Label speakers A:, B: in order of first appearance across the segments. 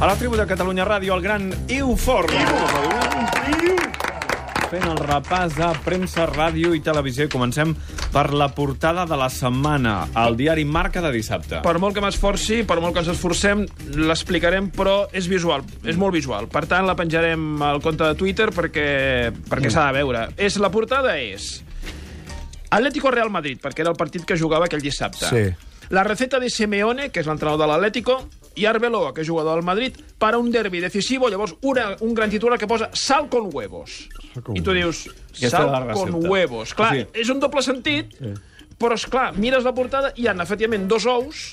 A: A la tribu de Catalunya Ràdio, el gran Iufor. Fent el repàs de premsa, ràdio i televisió. I comencem per la portada de la setmana, al diari Marca de dissabte.
B: Per molt que m'esforci, per molt que ens esforcem, l'explicarem, però és visual, és molt visual. Per tant, la penjarem al compte de Twitter perquè, perquè s'ha de veure. És La portada és... Atlético Real Madrid, perquè era el partit que jugava aquell dissabte.
C: Sí.
B: La receta de Simeone, que és l'entrenador de l'Atlético, i Arbeloa, que és jugador del Madrid, per a un derbi decisivo, llavors una, un gran titular que posa sal con huevos. I tu dius,
A: Aquesta és la
B: sal con
A: recepta.
B: huevos. Clar,
A: Sí.
B: sí. és un doble sentit, sí. però, és clar mires la portada i hi ha, efectivament, dos ous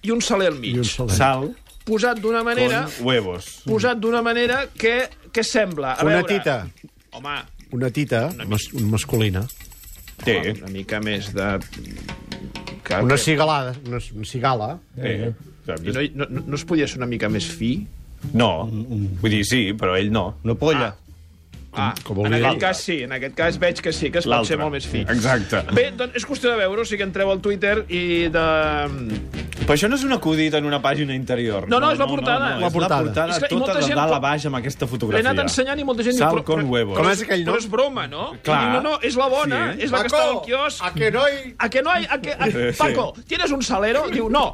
B: i un saler al mig.
C: I un saler.
A: Sal
B: Posat d'una manera...
A: con huevos.
B: Posat d'una manera que, que sembla... A
C: Una
B: veure,
C: tita.
B: Home,
C: Una tita, mas, un masculina.
A: Té.
B: home, una mica més de... Que,
C: Una
B: que-
C: cigalada, una, una cigala.
A: Té.
B: I no, no, no es podia ser una mica més fi?
A: No, vull dir sí, però ell no.
C: Una polla.
B: Ah,
C: com
B: en
C: obligat.
B: aquest cas sí, en aquest cas veig que sí, que es pot
A: L'altre.
B: ser molt més fi.
A: Exacte.
B: Bé, doncs és qüestió de veure-ho, o sigui que entreu al Twitter i de...
A: Però això no és un acudit en una pàgina interior.
B: No, no, és la portada.
A: No, no,
C: La
A: és
C: portada.
A: la portada
B: És que- i
A: tota
B: molta
A: de
B: gent
A: dalt a
B: pot-
A: baix amb aquesta
B: L'he
A: fotografia.
B: anat ensenyant i molta gent... diu,
A: Sal
B: però-
A: con
B: però-
A: huevos.
C: Com és aquell
B: Però
C: nom?
B: és broma, no?
A: Clar.
B: I diu, no, no, és la bona,
A: Sí. eh?
B: és la que està al quiosc.
C: a que no hi...
B: ¿A que no hay? ¿A que, a-
A: Sí.
B: Paco, ¿tienes un salero? Diu, no,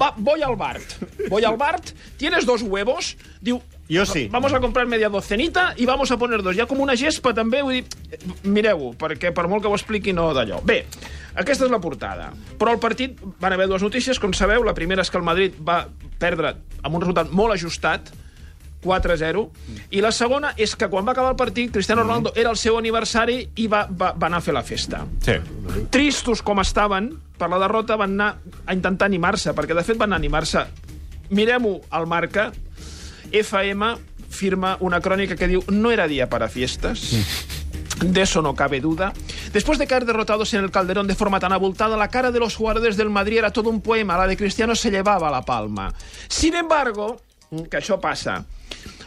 B: va, voy al Bart. Voy al Bart, ¿tienes dos huevos? Diu,
C: Jo sí.
B: vamos a comprar media docenita i vamos a poner dos. Hi ha com una gespa, també, vull dir... eh, Mireu-ho, perquè per molt que ho expliqui no d'allò. Bé, aquesta és la portada. Però al partit van haver dues notícies, com sabeu. La primera és que el Madrid va perdre amb un resultat molt ajustat, 4-0, i la segona és que quan va acabar el partit, Cristiano Ronaldo era el seu aniversari i va, va, va anar a fer la festa
A: Sí.
B: tristos com estaven per la derrota van anar a intentar animar-se, perquè de fet van anar a animar-se. Mirem-ho al marca. FM firma una crònica que diu no era dia para fiestas. De eso no cabe duda. Después de caer derrotados en el Calderón de forma tan abultada, la cara de los jugadores del Madrid era todo un poema. La de Cristiano se llevaba la palma. Sin embargo, que això passa,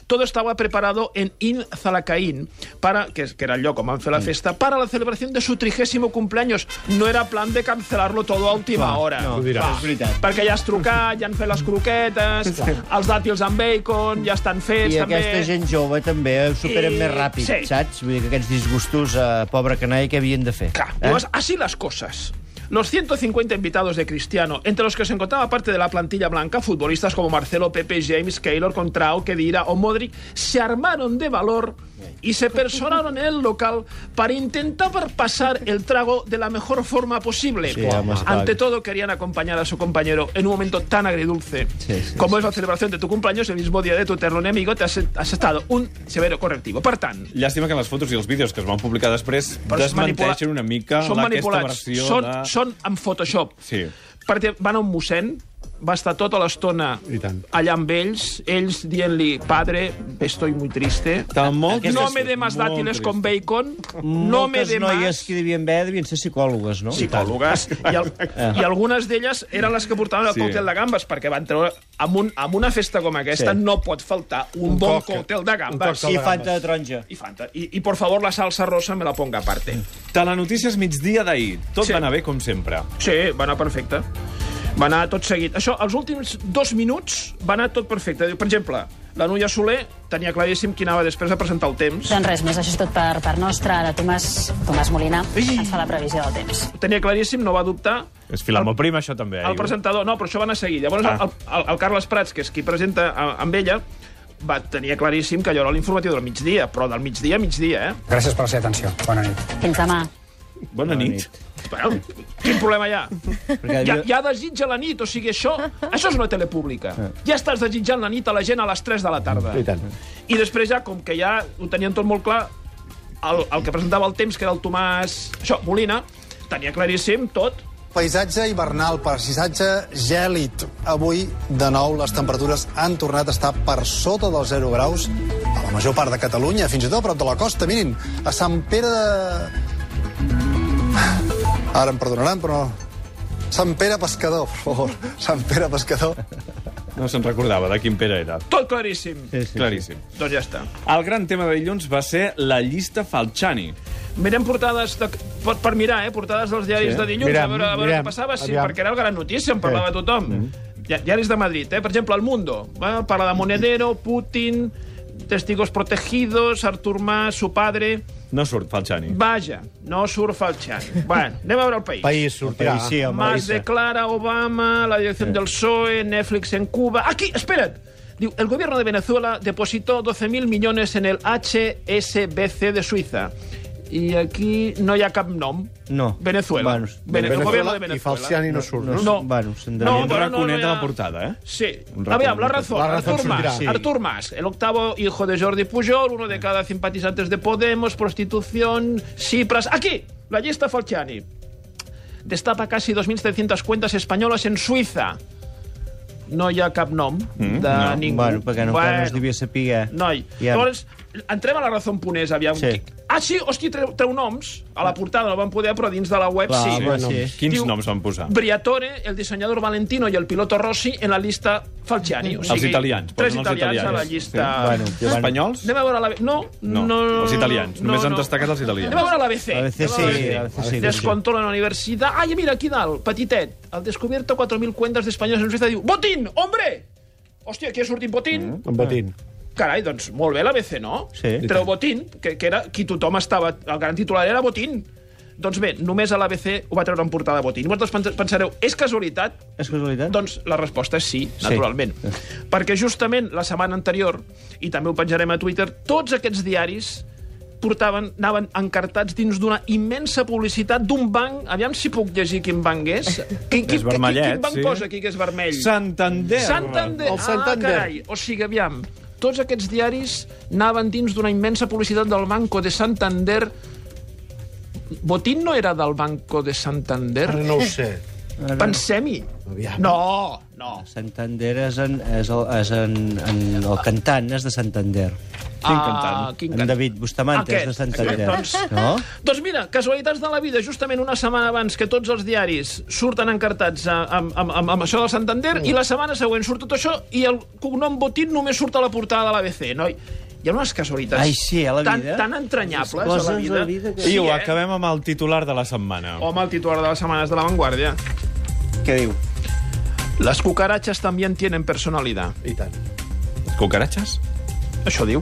B: todo estaba preparado en In Zalacaín, para, que, es- que era el lloc on van fer la festa, para la celebración de su trigésimo cumpleaños. No era plan de cancelarlo todo a última hora.
C: ho diràs.
B: Va,
C: És veritat.
B: Perquè ja has trucat, ja han fet les croquetes, els dàtils amb bacon, ja estan fets,
D: I
B: també.
D: aquesta gent jove també ho superen
B: I-
D: més ràpid,
B: sí.
D: saps? Vull dir que aquests disgustos, eh, pobre canalla, què havien de fer? Eh?
B: Claro, pues así las cosas. Los 150 invitados de Cristiano, entre los que se encontraba parte de la plantilla blanca, futbolistas como Marcelo, Pepe, James, Keylor, Contrao, Kedira o Modric, se armaron de valor y se personaron en el local para intentar pasar el trago de la mejor forma posible.
D: Sí, además,
B: Ante
D: claro.
B: todo, querían acompañar a su compañero en un momento tan agridulce
D: Sí, sí,
B: como es la celebración de tu cumpleaños el mismo día de tu eterno enemigo, te has, has estado un severo correctivo. Per tant,
A: Llàstima que les fotos i els vídeos que es van publicar després
B: però és
A: desmenteixen
B: manipula-
A: una mica
B: són
A: la- aquesta
B: manipulats.
A: versió
B: són,
A: de...
B: són amb Photoshop.
A: Sí.
B: Perquè van a un mossèn, va estar tota l'estona
C: I tant.
B: allà amb ells, ells dient-li, padre, estoy muy triste,
A: Està molt
B: no
A: trist,
B: me dé más
A: molt
B: dátiles
A: trist.
B: con bacon, no me
D: Moltes
B: dé
D: noies
B: más...
D: que hi devien haver devien ser psicòlogues, no?
B: psicòlogues, i, al, i algunes d'elles eren les que portaven el
A: Ah. Sí.
B: sí. còctel de gambes, perquè van treure... Amb, un, amb una festa com aquesta
D: Sí.
B: no pot faltar un, un bon
C: còctel.
B: còctel de gambes.
C: còctel
D: I
C: de
D: Fanta de taronja.
B: I, Fanta. I, I, por favor, la salsa rosa me la ponga aparte.
A: Telenotícies migdia d'ahir. Tot
B: Sí.
A: va anar bé, com sempre.
B: Sí, va anar perfecte. Va anar tot seguit. Això, els últims dos minuts va anar tot perfecte. Per exemple, la Núria Soler tenia claríssim qui anava després a presentar el temps.
E: Doncs res més, això és tot per part nostra. Ara Tomàs, Tomàs Molina ens fa la previsió del temps.
B: Ho tenia claríssim, no va dubtar.
A: És filar molt prim, això també.
B: El presentador... No, però això va anar seguit. Llavors,
A: Ah.
B: el, el, el Carles Prats, que és qui presenta a, amb ella, va tenir claríssim que allò era l'informatiu del migdia, però del migdia a migdia, eh?
F: Gràcies per la seva atenció. Bona nit.
E: Fins demà.
A: Bona nit.
B: Bueno, quin problema hi ha?
D: Perquè
B: Ja,
D: havia-
B: ja desitja la nit, o sigui, això, això és una tele pública. Ja estàs desitjant la nit a la gent a les 3 de la tarda.
C: Eh. I tant.
B: I després ja, com que ja ho tenien tot molt clar, el, el que presentava el temps, que era el Tomàs... Això, Molina, tenia claríssim tot.
G: Paisatge hivernal, paisatge gèlid. Avui, de nou, les temperatures han tornat a estar per sota dels 0 graus a la major part de Catalunya, fins i tot a prop de la costa. Mirin, a Sant Pere de... Ara em perdonaran, però... Sant Pere Pescador, per favor. Sant Pere Pescador.
A: No se'n recordava de quin Pere era.
B: Tot claríssim. Sí.
A: Claríssim.
B: Doncs ja està.
A: El gran tema de dilluns va ser la llista Falciani.
B: Mirem portades de, per, per mirar, eh? Portades dels diaris
A: Sí.
B: de dilluns,
C: Mirem,
B: a veure, a veure
C: mirem.
B: què passava. Sí,
C: Aviam. Mm.
B: perquè era el gran notícia, en parlava tothom. Di- Diaris de Madrid, eh? per exemple, El Mundo. Va, parla de Monedero, Putin, testigos protegidos, Artur Mas, su padre...
A: No surt, Falciani.
B: Vaja, no surt Falciani. Bueno, anem a veure el país.
C: País sortirà.
D: País, sí, home,
B: Mas
D: Lisa.
B: declara Obama, la dirección del PSOE, E, Netflix en Cuba... Aquí, espera't! Diu, el gobierno de Venezuela depositó 12.000 millones en el HSBC de Suïssa. I aquí no hi ha cap nom.
D: No.
B: Venezuela.
D: Bueno,
B: Venezuela, gobierno de
C: I
B: Venezuela.
C: Falciani no surt, no?
B: No.
D: Bueno, s'endevina.
B: No,
A: Un
B: però
A: raconet
B: no hi ha-
A: a la portada, eh?
B: Sí.
A: Un rato,
B: Aviam, la
A: un rato.
B: razón.
C: La razón
B: Artur
C: sortirá,
B: Mas.
C: sí.
B: Artur Mas, el octavo hijo de Jordi Pujol, uno de cada simpatizantes de Podemos, prostitución, Cipras. Aquí, la lista Falciani. Destapa casi 2.700 cuentas españolas en Suiza. No hi ha cap nom de
A: Mm, no.
B: ningú.
D: Bueno, perquè no, bueno. no es devia saber...
B: Noi,
D: Ja.
B: ja. llavors, entrem a la raó ponés, aviam.
D: Sí. Ah.
B: Ah, sí, hosti, treu, treu noms. A la portada no van poder, però dins de la web
D: Clar,
B: sí.
D: bueno, sí.
A: Quins
B: Diu-
A: noms van posar?
B: Briatore, el dissenyador Valentino i el piloto Rossi en la llista Falciani. O sigui,
A: italians,
B: Tres
A: posen els
B: italians,
A: italians.
B: a la llista...
D: Sí, bueno.
A: I els espanyols?
B: Anem a veure la... No,
A: No,
B: no, no,
A: els italians. Només han destacat els italians.
B: Anem a veure l'ABC.
D: ABC, sí, ABC, sí.
B: Descontrol en la universitat. Ai, mira, aquí dalt, petitet. Al descobierto 4.000 cuentas d'espanyols en Suïssa diu... Botín, hombre! Hòstia, aquí ha sortit Botín. Mm.
C: Amb batín.
B: Carai, doncs molt bé l'ABC, no?
D: Sí.
B: Però Botín, que, que era qui tothom estava... El gran titular era Botín. Doncs bé, només a l'ABC ho va treure en portada Botín. Vosaltres pens- pensareu, és casualitat?
D: És casualitat?
B: Doncs la resposta és sí, naturalment. Sí. Perquè justament la setmana anterior, i també ho penjarem a Twitter, tots aquests diaris portaven, anaven encartats dins d'una immensa publicitat d'un banc... Aviam si puc llegir quin banc és. Qui, qui,
A: És vermellet,
B: quin banc
A: sí.
B: posa aquí que és vermell?
A: Santander.
B: Santander.
C: El Santander.
B: Ah, carai. O sigui, aviam, tots aquests diaris anaven dins d'una immensa publicitat del Banco de Santander. Botín no era del Banco de Santander?
D: Ah,
C: Ara no ho sé.
B: Pensem-hi.
C: Aviam.
B: No, no.
D: Santander és, en, és, el, és en, en, el cantant, és de Santander.
B: Quin
A: cantant?
B: Ah, quin
D: En David Bustamante
B: Aquest,
D: és de Santander.
B: aquest, doncs.
D: No?
B: Doncs mira, casualitats de la vida, justament una setmana abans que tots els diaris surten encartats a- amb, amb, amb, amb això del Santander, i la setmana següent surt tot això i el cognom Botín només surt a la portada de l'ABC, noi. Hi ha unes casualitats
D: Ai, sí, a la
B: tan,
D: vida.
B: tan entranyables
D: Coses
B: a
D: a
B: la
D: la
B: vida.
D: vida que-
A: I ho
B: eh?
A: acabem amb el titular de la setmana.
B: Home, el titular de les setmanes de La Vanguardia.
D: Què diu?
B: Les cucarachas també tienen personalidad.
C: I tant.
A: Cucaratxes?
B: Això diu.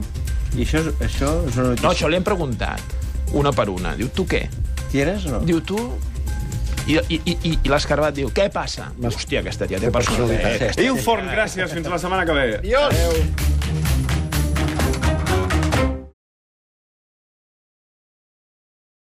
D: I això, és- això és una
B: No,
D: notícia.
B: això li hem preguntat una per una. Diu, tu què?
D: Tienes o no?
B: Diu, tu... I, i, i, i- i l'escarbat diu, què passa? Hòstia, aquesta tia té personalitat.
A: Iu Forn, gràcies. Fins la setmana que ve.
B: Adiós. Adeu.